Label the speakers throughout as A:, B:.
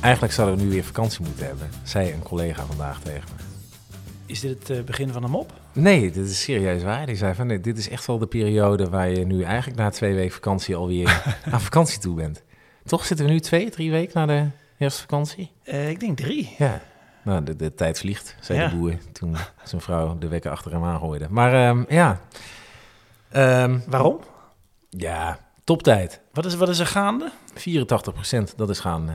A: Eigenlijk zouden we nu weer vakantie moeten hebben, zei een collega vandaag tegen me.
B: Is dit het eh, begin van een mop?
A: Nee, dit is serieus waar. Die zei van, nee, dit is echt wel de periode waar je nu eigenlijk na twee weken vakantie alweer aan vakantie toe bent. Toch zitten we nu twee, drie weken na de herfstvakantie?
B: Eh, ik denk drie.
A: Ja. Nou, de, de tijd vliegt, zei
B: Ja.
A: de boer toen zijn vrouw de wekker achter hem aangooide. Maar ehm, ja, Ehm,
B: Waarom?
A: ja, toptijd.
B: Wat is, wat is er gaande?
A: 84% dat is gaan. eh.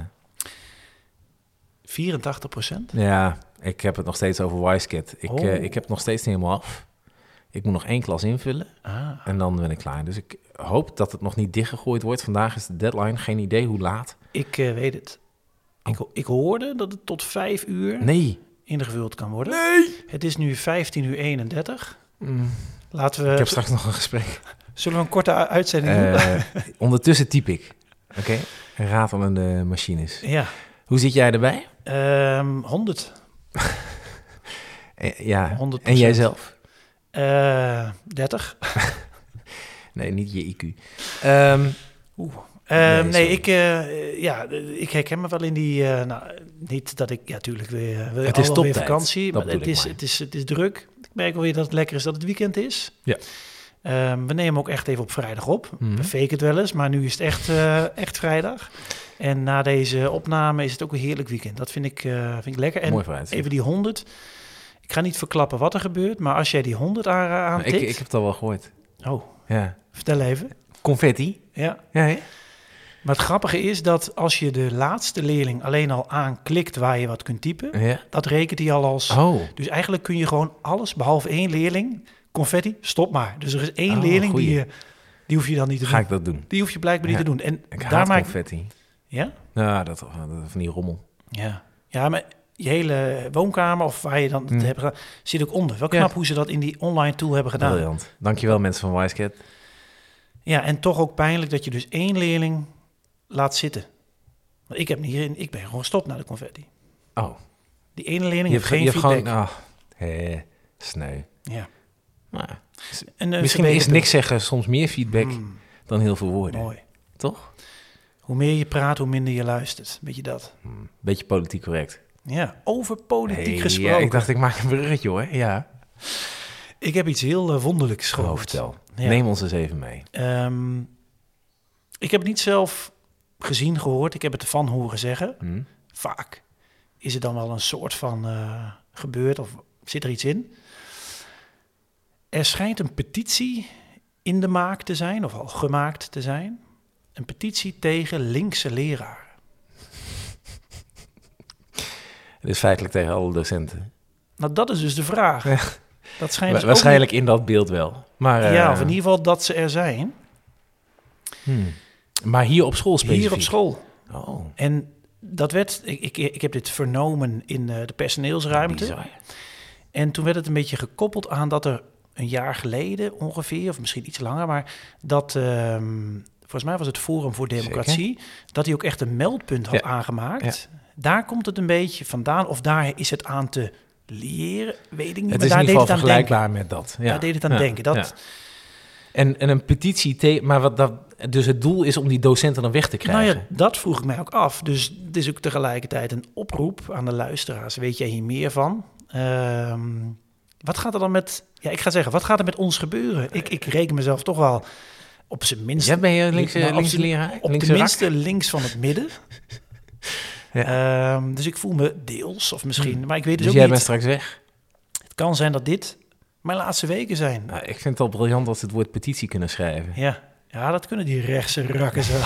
B: 84 procent.
A: Ja, ik heb het nog steeds over WiseKit. Ik,
B: Oh.
A: eh, ik heb het nog steeds niet helemaal af. Ik moet nog één klas invullen.
B: Ah.
A: En dan ben ik klaar. Dus ik hoop dat het nog niet dichtgegooid wordt. Vandaag is de deadline. Geen idee hoe laat.
B: Ik eh, weet het. Ik, ho- ik hoorde dat het tot vijf uur
A: Nee.
B: ingevuld kan worden. Nee! Het is nu 15 uur 31. Laten we...
A: Ik heb straks nog een gesprek.
B: Zullen we een korte u- uitzending doen?
A: Eh, ondertussen typ ik. Oké? Ratelende machines.
B: Ja.
A: Hoe zit jij erbij?
B: Ehm 100.
A: Eh, ja.
B: 100%.
A: En jijzelf?
B: Eh 30.
A: Nee, niet je IQ. Ehm,
B: Eh,
A: Nee,
B: nee,
A: sorry.
B: ik, eh, ja, eh, ik herken me wel in die... eh, nou, niet dat ik... Ja, tuurlijk weer, eh, weer
A: Het is
B: allemaal weer
A: toptijd.
B: vakantie.
A: Dat
B: Maar het,
A: bedoel ik
B: is,
A: maar.
B: Het, is, het is druk. Ik merk wel weer dat het lekker is dat het weekend is.
A: Ja.
B: Ehm, we nemen ook echt even op vrijdag op.
A: Mhm.
B: We faken het wel eens, maar nu is het echt, eh, echt vrijdag. En na deze opname is het ook een heerlijk weekend. Dat vind ik, eh, vind ik lekker. En
A: mooi vooruit.
B: even die 100. Ik ga niet verklappen wat er gebeurt, maar als jij die 100 aan, eh,
A: Nou, ik,
B: aantikt...
A: ik heb het al wel gehoord.
B: Oh,
A: Ja.
B: vertel even.
A: Confetti?
B: Ja.
A: Ja, hè?
B: Maar het grappige is dat als je de laatste leerling alleen al aanklikt waar je wat kunt typen,
A: ja.
B: dat rekent hij al als.
A: Oh.
B: Dus eigenlijk kun je gewoon alles behalve één leerling, confetti, stop maar. Dus er is één
A: Oh,
B: leerling
A: goeie.
B: die je, die hoef je dan niet te
A: Ga
B: doen.
A: ik dat doen?
B: Die hoef je blijkbaar niet
A: Ja.
B: te doen. En
A: Ik
B: daar
A: haat
B: maak
A: confetti.
B: ja?
A: Nou, dat, dat- van die rommel.
B: ja, ja, maar je hele woonkamer of waar je dan
A: Hmm.
B: het hebt gedaan, zit ook onder. Wel
A: Ja.
B: knap hoe ze dat in die online tool hebben gedaan.
A: Briljant. Dankjewel mensen van WiseCat.
B: Ja, en toch ook pijnlijk dat je dus één leerling laat zitten. Want ik heb niet hierin, ik ben gewoon gestopt naar de confetti.
A: Oh.
B: Die ene leerling
A: Je hebt,
B: heeft
A: ge-
B: geen
A: je hebt
B: feedback.
A: gewoon... ah, hè, sneu.
B: Ja.
A: Nou, ja.
B: En, eh,
A: Misschien is
B: verbeterpunt.
A: niks zeggen soms meer feedback
B: Mm,
A: dan heel veel woorden.
B: mooi.
A: Toch?
B: Hoe meer je praat, hoe minder je luistert. Weet je dat?
A: Hmm, Beetje politiek correct.
B: Ja, over politiek
A: Hey,
B: gesproken.
A: Ja,
B: ik,
A: ik dacht, ik maak een bruggetje hoor. Ja.
B: heb iets heel eh, wonderlijks
A: Gewoon
B: gehoord.
A: vertel.
B: Ja.
A: Neem ons eens even mee.
B: Ehm, ik heb het niet zelf gezien, gehoord. Ik heb het ervan horen zeggen.
A: Hm?
B: Vaak is er dan wel een soort van eh, gebeurd of zit er iets in. Er schijnt een petitie in de maak te zijn, of al gemaakt te zijn. Een petitie tegen linkse leraren.
A: Het is feitelijk tegen alle docenten.
B: Nou, dat is dus de vraag. Dat schijnt
A: Wa-
B: dus ook
A: waarschijnlijk in dat beeld wel. Maar,
B: niet-
A: eh,
B: ja, of in ieder geval dat ze er zijn.
A: hmm. Maar hier op school specifiek?
B: Hier op school.
A: Oh,
B: En dat werd, ik, ik, ik heb dit vernomen in eh, de personeelsruimte.
A: bizar.
B: En toen werd het een beetje gekoppeld aan dat er een jaar geleden ongeveer, of misschien iets langer, maar dat, ehm, volgens mij was het Forum voor Democratie, dat hij ook echt een meldpunt had
A: Ja.
B: aangemaakt. Daar komt het een beetje vandaan, of daar is het aan te leren, weet ik
A: Het
B: niet. maar
A: is in ieder
B: daar
A: geval
B: deed het aan denken.
A: vergelijkbaar met dat. Ja.
B: Daar deed het aan
A: Ja,
B: denken. Dat,
A: ja. En, en een petitie tegen... Maar wat dat, dus het doel is om die docenten dan weg te krijgen?
B: Nou ja, dat vroeg ik mij ook af. Dus het is ook tegelijkertijd een oproep aan de luisteraars. Weet jij hier meer van? Ehm, wat gaat er dan met... Ja, ik ga zeggen, wat gaat er met ons gebeuren? Ik, ik reken mezelf toch wel op zijn minst...
A: Jij bent links, eh,
B: Nou,
A: links
B: absoluut.
A: leraar?
B: op
A: linkse
B: de
A: rak?
B: minste links van het midden. Ehm, dus ik voel me deels, of misschien... Maar ik weet dus,
A: Dus jij
B: ook niet.
A: bent straks weg?
B: Het kan zijn dat dit mijn laatste weken zijn.
A: Nou, ik vind het al briljant dat ze het woord petitie kunnen schrijven.
B: Ja, ja dat kunnen die rechtse rakken zo.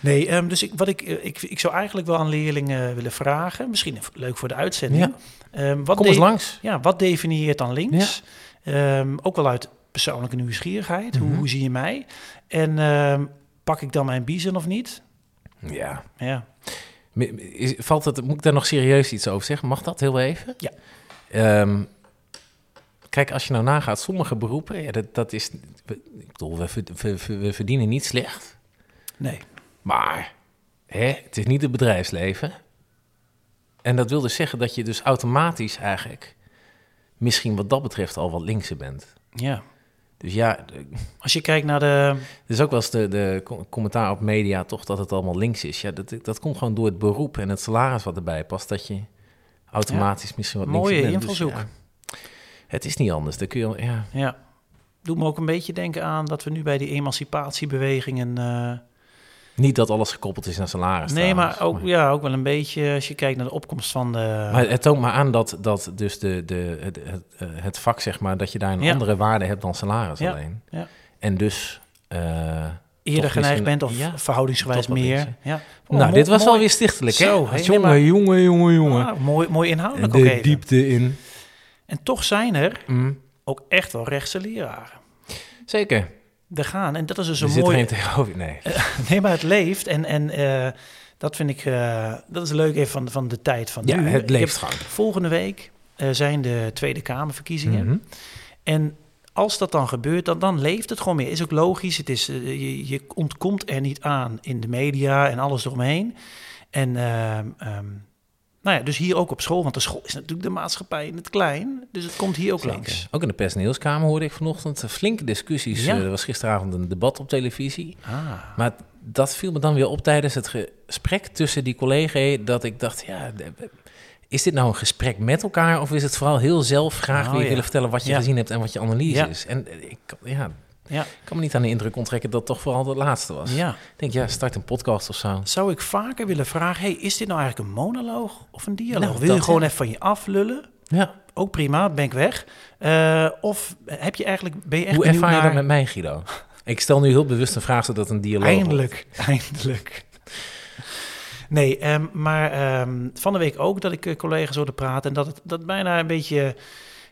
B: Nee, ehm, dus ik, wat ik, eh, ik, ik zou eigenlijk wel aan leerlingen willen vragen, misschien v- leuk voor de uitzending.
A: Ja.
B: Ehm, wat
A: Kom eens
B: de-
A: langs.
B: Ja, wat definieert dan links? Ehm, ook wel uit persoonlijke nieuwsgierigheid. Hoe,
A: Mhm.
B: hoe zie je mij? En ehm, pak ik dan mijn biezen of niet?
A: Ja.
B: Ja,
A: Is, valt het, moet ik daar nog serieus iets over zeggen? Mag dat heel even?
B: Ja.
A: Ehm, kijk, als je nou nagaat, sommige beroepen, ja, dat, dat is. we- Ik bedoel, we, verd- we- we- we verdienen niet slecht,
B: Nee.
A: maar hè, het is niet het bedrijfsleven. En dat wil dus zeggen dat je dus automatisch eigenlijk misschien wat dat betreft al wat linkser bent.
B: Ja.
A: Dus ja, de-
B: Als je kijkt naar de...
A: er is ook wel eens de, de co- commentaar op media toch dat het allemaal links is. Ja, dat, dat komt gewoon door het beroep en het salaris wat erbij past. Dat je automatisch misschien wat
B: Mooie
A: linkser bent.
B: invalshoek.
A: ja, het is niet anders. Dan kun je, al- ja,
B: Ja. Doet me ook een beetje denken aan dat we nu bij die emancipatiebewegingen... eh,
A: niet dat alles gekoppeld is aan salaris.
B: nee,
A: trouwens,
B: maar ook, ja, ook wel een beetje als je kijkt naar de opkomst van de...
A: Maar het toont maar aan dat, dat dus de, de, het, het, eh, het vak, zeg maar, dat je daar een
B: Ja.
A: andere waarde hebt dan salaris
B: Ja,
A: alleen.
B: ja.
A: En dus... eh,
B: eerder
A: toch
B: geneigd
A: misschien-
B: bent of
A: ja,
B: verhoudingsgewijs
A: toch wel
B: meer.
A: links,
B: ja.
A: nou, dit was wel
B: alweer
A: weer stichtelijk, hè?
B: Oh, Zo, hè? Nee,
A: jongen,
B: maar-
A: jongen, jongen, jongen.
B: Ah, mooi, mooi inhoudelijk ook
A: de
B: even.
A: diepte in.
B: En toch zijn er
A: Mm,
B: ook echt wel rechtse leraren.
A: Zeker.
B: Er gaan, en dat is dus
A: er
B: een Eh,
A: zit
B: mooi...
A: geen tegenover, nee.
B: Nee, maar het leeft. En, en eh, dat vind ik, eh, dat is leuk even van, van de tijd van
A: ja,
B: nu.
A: het
B: Je
A: leeft
B: hebt-
A: gewoon.
B: volgende week eh, zijn de Tweede Kamerverkiezingen.
A: Mhm.
B: En als dat dan gebeurt, dan, dan leeft het gewoon meer. Is ook logisch. Het is, eh, je, je ontkomt er niet aan in de media en alles eromheen. En ehm, ehm, nou ja, dus hier ook op school, want de school is natuurlijk de maatschappij in het klein. Dus het komt hier ook
A: Zeker.
B: langs.
A: Ook in de personeelskamer hoorde ik vanochtend eh, flinke discussies.
B: Ja.
A: Eh, er was gisteravond een debat op televisie.
B: Ah,
A: Maar dat viel me dan weer op tijdens het gesprek tussen die collega's. Dat ik dacht, ja, de- is dit nou een gesprek met elkaar? Of is het vooral heel zelf graag
B: Oh,
A: weer
B: ja.
A: willen vertellen wat je
B: Ja.
A: gezien hebt en wat je analyse
B: Ja.
A: is? En eh, ik kan- ja,
B: ja,
A: ik kan me niet aan de indruk onttrekken dat het toch vooral het laatste was.
B: ja.
A: Ik denk, ja, start een podcast of zo.
B: Zou ik vaker willen vragen, hey, is dit nou eigenlijk een monoloog of een dialoog?
A: Nou,
B: Wil je
A: dat,
B: gewoon
A: hè.
B: even van je aflullen?
A: Ja.
B: Ook prima, ben ik weg. Eh, of heb je eigenlijk, ben je echt
A: Hoe
B: benieuwd
A: ervaar je dat
B: naar-
A: met mij, Guido? Ik stel nu heel bewust een vraag zodat het een dialoog wordt.
B: Eindelijk, eindelijk. Nee, ehm, maar ehm, van de week ook dat ik eh, collega's hoorde praten en dat het dat bijna een beetje,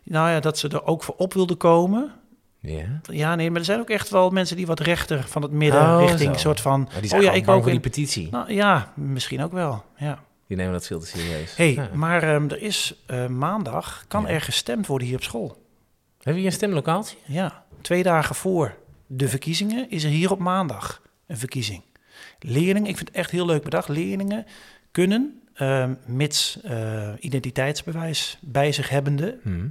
B: nou ja, dat ze er ook voor op wilden komen.
A: Ja.
B: Ja, nee, maar er zijn ook echt wel mensen die wat rechter van het midden
A: Oh,
B: richting
A: zo.
B: een soort van.
A: Maar die zijn
B: oh ja,
A: gewoon
B: ik
A: bang
B: ook.
A: voor die
B: in-
A: petitie.
B: nou, ja, misschien ook wel. Ja.
A: Die nemen dat veel te serieus.
B: Hey,
A: Ja.
B: maar ehm, er is eh, maandag kan
A: Ja.
B: er gestemd worden hier op school.
A: Hebben we hier een stemlokaaltje?
B: Ja, twee dagen voor de verkiezingen is er hier op maandag een verkiezing. Leerlingen, ik vind het echt heel leuk bedacht. Leerlingen kunnen, ehm, mits eh, identiteitsbewijs bij zich hebbende,
A: Hm.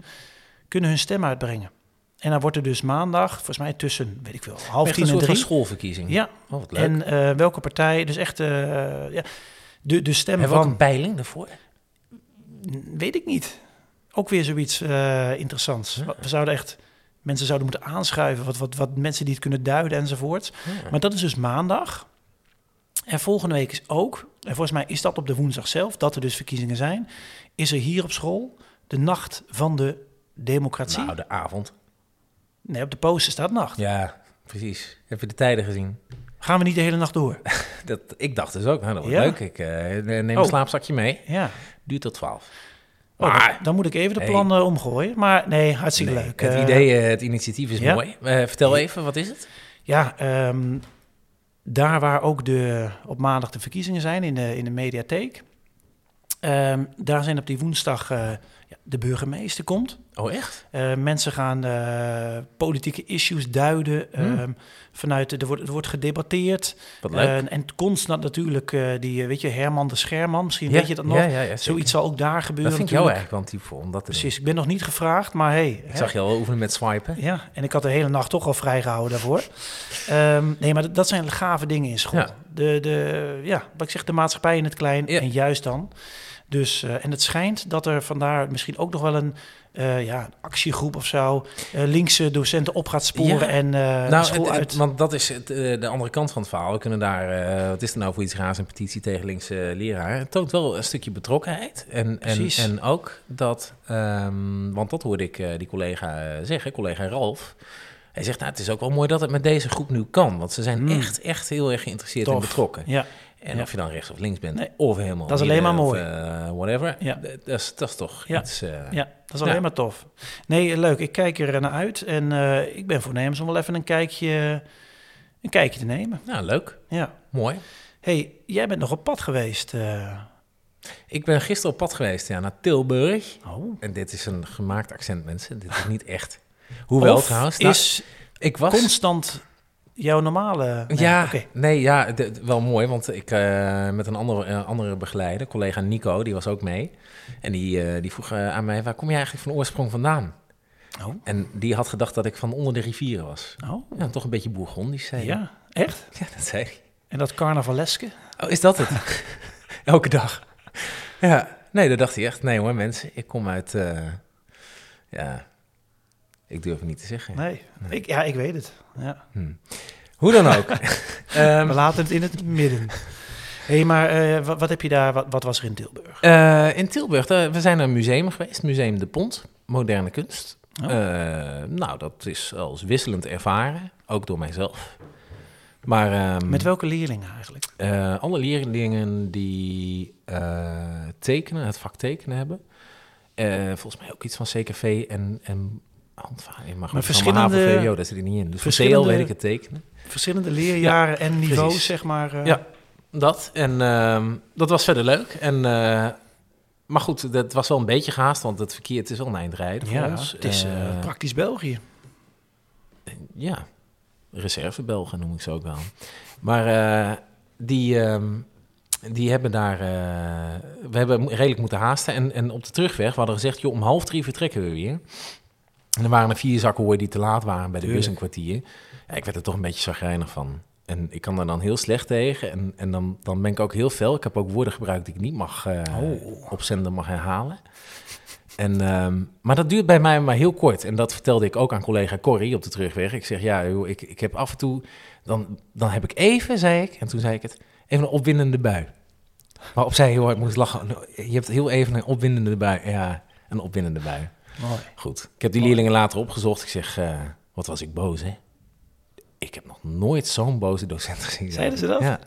B: kunnen hun stem uitbrengen. En dan wordt er dus maandag, volgens mij tussen, weet ik veel, half
A: Echt een
B: tien en
A: soort van
B: drie.
A: schoolverkiezing.
B: Ja,
A: Oh, wat leuk.
B: en eh, welke partij, dus echt eh, ja, de, de stem
A: Hebben we ook
B: van,
A: een peiling daarvoor?
B: weet ik niet. Ook weer zoiets eh, interessants.
A: Ja.
B: We zouden echt, mensen zouden moeten aanschuiven, wat, wat, wat mensen die het kunnen duiden enzovoort.
A: Ja.
B: Maar dat is dus maandag. En volgende week is ook, en volgens mij is dat op de woensdag zelf, dat er dus verkiezingen zijn, is er hier op school de nacht van de democratie.
A: nou, de avond.
B: nee, op de poster staat nacht.
A: Ja, precies. Heb je de tijden gezien?
B: Gaan we niet de hele nacht door?
A: Dat, ik dacht dus ook, nou, dat wordt
B: Ja?
A: leuk. Ik eh, neem een
B: Oh.
A: slaapzakje mee.
B: Ja.
A: Duurt tot twaalf.
B: Oh,
A: Maar-
B: dan, dan moet ik even de
A: Hey.
B: plannen omgooien. Maar nee, hartstikke
A: Nee,
B: leuk.
A: Het
B: Eh,
A: idee, eh, het initiatief is
B: ja?
A: mooi. Eh, vertel even, wat is het?
B: Ja, ehm, daar waar ook de, op maandag de verkiezingen zijn in de, in de mediatheek. ehm, daar zijn op die woensdag eh, ja, de burgemeester komt.
A: Oh, echt?
B: Eh, mensen gaan eh, politieke issues duiden.
A: Hmm.
B: ehm, vanuit, de- er wordt, er wordt gedebatteerd.
A: Wat leuk.
B: Eh, en constant natuurlijk, eh, die, eh, weet je, Herman de Scherman, misschien
A: Ja,
B: weet je dat nog.
A: Ja, ja, ja, zeker.
B: Zoiets zal ook daar gebeuren
A: Dat vind ik jou eigenlijk
B: natuurlijk.
A: wel een type voor, om dat te doen.
B: Precies, ik ben nog niet gevraagd, maar hey.
A: Ik
B: hè?
A: zag je al oefenen met swipen.
B: Ja, en ik had de hele nacht toch al vrijgehouden daarvoor. Ehm, nee, maar dat, dat zijn gave dingen in school.
A: Ja.
B: De, de, ja, wat ik zeg, de maatschappij in het klein
A: Ja.
B: en juist dan. Dus, eh, en het schijnt dat er vandaar misschien ook nog wel een eh, ja, een actiegroep of zo... eh, linkse docenten op gaat sporen
A: Ja.
B: en eh, de
A: Nou,
B: school
A: het- het-
B: uit...
A: want dat is het, eh, de andere kant van het verhaal. We kunnen daar, eh, wat is er nou voor iets raars, een petitie tegen linkse eh, leraar. Het toont wel een stukje betrokkenheid. En, en,
B: Precies.
A: en ook dat, ehm, want dat hoorde ik eh, die collega eh, zeggen, collega Ralf. Hij zegt, nou, het is ook wel mooi dat het met deze groep nu kan. Want ze zijn
B: Mm.
A: echt, echt heel erg geïnteresseerd en
B: Tof.
A: betrokken.
B: ja,
A: En
B: Ja.
A: of je dan rechts of links bent,
B: Nee.
A: of helemaal
B: Dat is alleen
A: midden,
B: maar
A: of,
B: mooi.
A: eh, whatever.
B: Ja.
A: D- Dat, is, dat is toch
B: Ja.
A: iets... eh,
B: ja, dat is
A: Ja.
B: alleen maar tof. Nee, eh, leuk, ik kijk er naar uit. En eh, ik ben voornemens om wel even een kijkje, een kijkje te nemen.
A: Nou, leuk.
B: Ja.
A: Mooi.
B: hey, jij bent nog op pad geweest. eh.
A: Ik ben gisteren op pad geweest ja, naar Tilburg.
B: oh.
A: En dit is een gemaakt accent, mensen. Dit is niet echt. Hoewel
B: Of
A: trouwens, nou,
B: is
A: ik was...
B: constant jouw normale... Nee,
A: ja,
B: oké.
A: nee, ja, d- d- wel mooi, want ik eh, met een andere, eh, andere begeleider, collega Nico, die was ook mee. En die, eh, die vroeg eh, aan mij, waar kom je eigenlijk van oorsprong vandaan?
B: Oh.
A: En die had gedacht dat ik van onder de rivieren was.
B: Oh,
A: Ja, toch een beetje Bourgondisch, zei hij.
B: ja. Echt?
A: Ja, dat zei hij.
B: En dat carnavaleske?
A: Oh, is dat het? Elke dag. Ja, nee, dat dacht hij echt. Nee hoor, mensen, ik kom uit... eh, ja, ik durf het niet te zeggen.
B: Nee. Ik, ja, ik weet het. Ja.
A: Hoe dan ook. Ehm,
B: We laten het in het midden. Hé, hey, maar eh, wat, wat heb je daar... Wat, wat was er in Tilburg?
A: Eh, in Tilburg, daar- we zijn naar een museum geweest, Museum de Pont, moderne kunst.
B: Oh.
A: Eh, nou, dat is als wisselend ervaren, ook door mijzelf. Maar ehm,
B: Met welke leerlingen eigenlijk?
A: eh, alle leerlingen die eh, tekenen, het vak tekenen hebben, eh, volgens mij ook iets van CKV en, en handvaring, maar goed,
B: verschillende-
A: allemaal HAVO, daar zit er niet in. Dus
B: verschillende-
A: voor TL weet ik het tekenen.
B: Verschillende leerjaren en niveaus,
A: precies.
B: zeg maar. eh.
A: Ja. Dat. En ehm, dat was verder leuk. En, eh, maar goed, dat was wel een beetje gehaast, want het verkeer het is wel een eind rijden voor
B: Ja,
A: ons.
B: het is eh,
A: Eh,
B: praktisch België.
A: ja, reservebelgen noem ik ze ook wel. Maar eh, die, ehm, die hebben daar... eh, we hebben mo- redelijk moeten haasten. En, en op de terugweg, we hadden gezegd, joh, om half drie vertrekken we weer. En er waren er vier zakken hoor die te laat waren bij de bus
B: Tuurlijk.
A: een kwartier. Ja, ik werd er toch een beetje zagrijnig van. En ik kan daar dan heel slecht tegen. En, en dan, dan ben ik ook heel fel. Ik heb ook woorden gebruikt die ik niet mag eh,
B: Oh.
A: op zender mag herhalen. En, ehm, maar dat duurt bij mij maar heel kort. En dat vertelde ik ook aan collega Corrie op de terugweg. Ik zeg, ja, joh, ik, ik heb af en toe... Dan, dan heb ik even, zei ik, en toen zei ik het, even een opwindende bui. Waarop zij heel hard moest lachen. Nou, Je hebt heel even een opwindende bui. Ja, een opwindende bui.
B: Mooi.
A: Goed. Ik heb die leerlingen later opgezocht. Ik zeg, eh, wat was ik boos, hè? Ik heb nog nooit zo'n boze docent gezien.
B: Zeiden ze dat?
A: Ja.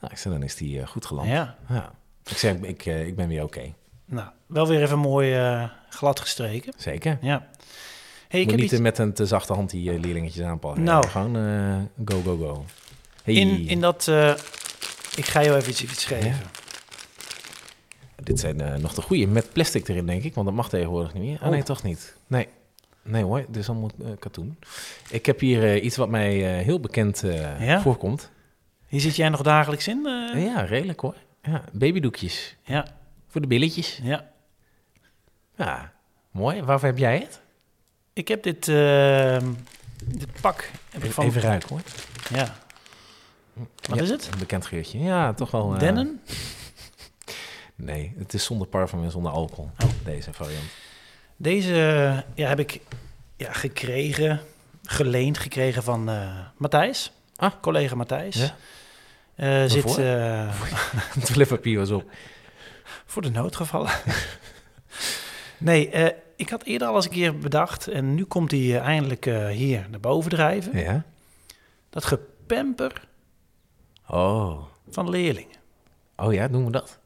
A: Nou, ik zei, dan is die eh, goed geland. Ja.
B: Ja,
A: Ik zeg, ik, eh, ik ben weer oké.
B: nou, wel weer even mooi eh, glad gestreken.
A: Zeker.
B: Ja.
A: Ik
B: Hey, ik
A: Moet
B: heb
A: niet
B: iets...
A: eh, met een te zachte hand die eh, leerlingetjes aanpakken.
B: Nou.
A: Gewoon eh, go, go, go. Hey.
B: in, in dat... eh, ik ga jou even iets, iets geven.
A: Dit zijn eh, nog de goede met plastic erin, denk ik. Want dat mag tegenwoordig niet meer. Ah,
B: Oh.
A: nee, toch niet. Nee. Nee hoor, dit is allemaal eh, katoen. Ik heb hier eh, iets wat mij eh, heel bekend eh,
B: Ja?
A: voorkomt.
B: Hier zit jij nog dagelijks in? eh?
A: Ja, redelijk hoor. Ja, babydoekjes.
B: ja.
A: Voor de billetjes.
B: ja.
A: Ja, mooi. Waarvoor heb jij het?
B: Ik heb dit, eh, dit pak. Heb ik van,
A: Even ruiken hoor.
B: Ja. Wat
A: Ja,
B: is het?
A: Een bekend geurtje. Ja, toch wel... eh,
B: Dennen?
A: Nee, het is zonder parfum en zonder alcohol.
B: Oh.
A: Deze variant.
B: Deze eh, ja, heb ik ja, gekregen, geleend gekregen van eh, Matthijs.
A: Ah.
B: Collega Matthijs.
A: Ja.
B: Eh, zit
A: Waarvoor?
B: eh,
A: Het toiletpapier was op.
B: voor de noodgevallen. nee, eh, ik had eerder al eens een keer bedacht. En nu komt hij eh, eindelijk eh, hier naar boven drijven.
A: Ja.
B: Dat gepemper
A: Oh.
B: van leerlingen.
A: Oh ja, doen we dat?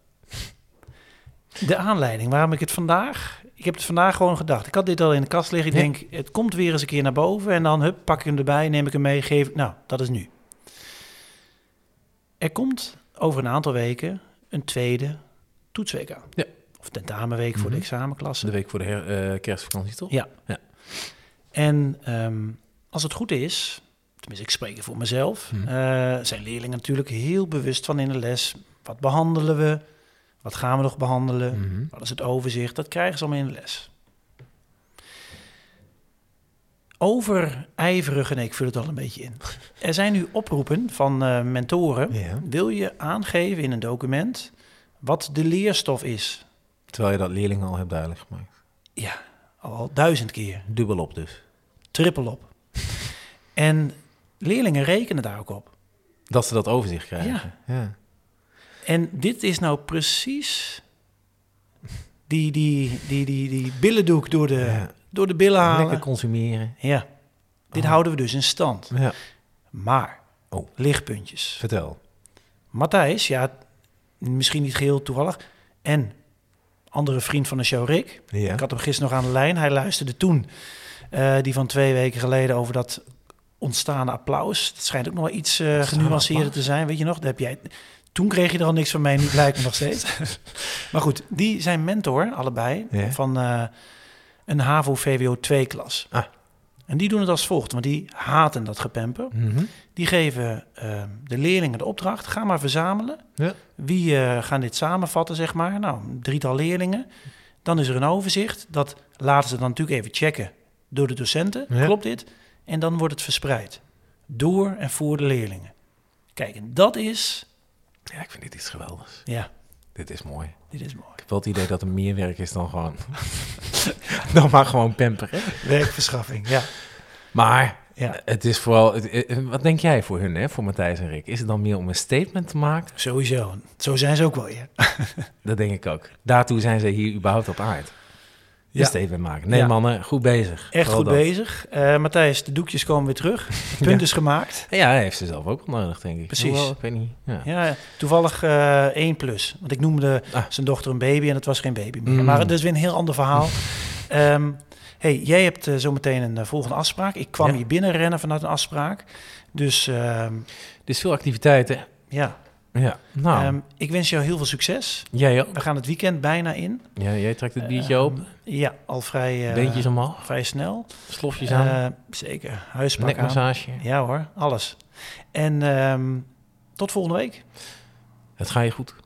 B: De aanleiding waarom ik het vandaag. Ik heb het vandaag gewoon gedacht. Ik had dit al in de kast liggen. Ik
A: Ja.
B: denk, het komt weer eens een keer naar boven. En dan hup, pak ik hem erbij, neem ik hem mee, geef. Nou, dat is nu. Er komt over een aantal weken een tweede toetsweek aan.
A: Ja.
B: Of tentamenweek voor de
A: Mhm.
B: examenklasse.
A: De week voor de her- eh, kerstvakantie, toch?
B: Ja.
A: Ja.
B: En ehm, als het goed is, tenminste ik spreek er voor mezelf,
A: Mhm.
B: eh, zijn leerlingen natuurlijk heel bewust van in de les. Wat behandelen we? Wat gaan we nog behandelen?
A: Mhm.
B: Wat is het overzicht? Dat krijgen ze allemaal in de les. Overijverig, en ik vul het al een beetje in. Er zijn nu oproepen van eh, mentoren.
A: ja.
B: Wil je aangeven in een document wat de leerstof is?
A: Terwijl je dat leerlingen al hebt duidelijk gemaakt.
B: Ja, al duizend keer.
A: Dubbel op dus.
B: Trippel op. En leerlingen rekenen daar ook op.
A: Dat ze dat overzicht krijgen. Ja. ja.
B: En dit is nou precies die, die, die, die, die billendoek door de,
A: Ja. Ah.
B: door de billen halen.
A: Lekker consumeren.
B: Ja, dit
A: Oh.
B: houden we dus in stand.
A: Ja.
B: Maar,
A: Oh.
B: lichtpuntjes.
A: Vertel.
B: Matthijs, ja, misschien niet geheel toevallig. En andere vriend van de show, Rick.
A: Ja.
B: Ik had hem gisteren nog aan de lijn. Hij luisterde toen, eh, die van twee weken geleden, over dat ontstaande applaus. Dat schijnt ook nog wel iets eh genuanceerder te zijn. Weet je nog, dat heb jij... Toen kreeg je er al niks van mij, nu blijkt me nog steeds. maar goed, die zijn mentor, allebei,
A: Ja.
B: van eh, een HAVO-VWO-2-klas.
A: Ah.
B: En die doen het als volgt, want die haten dat gepemper.
A: Mhm.
B: Die geven eh, de leerlingen de opdracht, ga maar verzamelen.
A: Ja.
B: Wie eh, gaan dit samenvatten, zeg maar? Nou, een drietal leerlingen. Dan is er een overzicht. Dat laten ze dan natuurlijk even checken door de docenten.
A: Ja.
B: Klopt dit? En dan wordt het verspreid. Door en voor de leerlingen. Kijk, en dat is...
A: Ja, ik vind dit iets geweldigs.
B: Ja,
A: Dit is mooi.
B: dit is mooi.
A: Ik heb wel het idee dat er meer werk is dan gewoon... dan maar gewoon pamperen.
B: Werkverschaffing, ja.
A: Maar
B: ja.
A: het is vooral... het- eh, wat denk jij voor hun, hè? Voor Matthijs en Rick? Is het dan meer om een statement te maken?
B: Sowieso. Zo zijn ze ook wel, ja.
A: Dat denk ik ook. Daartoe zijn ze hier überhaupt op aard.
B: Ja.
A: Een statement maken. Nee,
B: Ja.
A: mannen, goed bezig.
B: Echt
A: Vooral
B: goed
A: dat.
B: bezig. Eh, Matthijs, de doekjes komen weer terug. Het punt
A: Ja.
B: is gemaakt.
A: Ja, hij heeft ze zelf ook wel nodig, denk ik.
B: Precies.
A: Hoewel, ik weet niet. Ja.
B: Ja, toevallig eh 1 plus. Want ik noemde
A: Ah.
B: zijn dochter een baby en het was geen baby meer.
A: Mm.
B: Maar dat is dus weer een heel ander verhaal. Ehm hey, jij hebt eh, zometeen een eh, volgende afspraak. Ik kwam
A: Ja.
B: hier binnen rennen vanuit een afspraak. Dus ehm,
A: Dus veel activiteiten.
B: ja,
A: Ja. Nou,
B: Ehm, ik wens jou heel veel succes.
A: jij ook.
B: We gaan het weekend bijna in.
A: Ja, jij trekt het biertje
B: Ehm,
A: open.
B: Ja, al vrij, eh,
A: Beentjes omhoog.
B: vrij snel.
A: Slofjes aan.
B: Eh, zeker, huispak aan.
A: Nekmassage.
B: Ja hoor, alles. En ehm, tot volgende week.
A: Het ga je goed.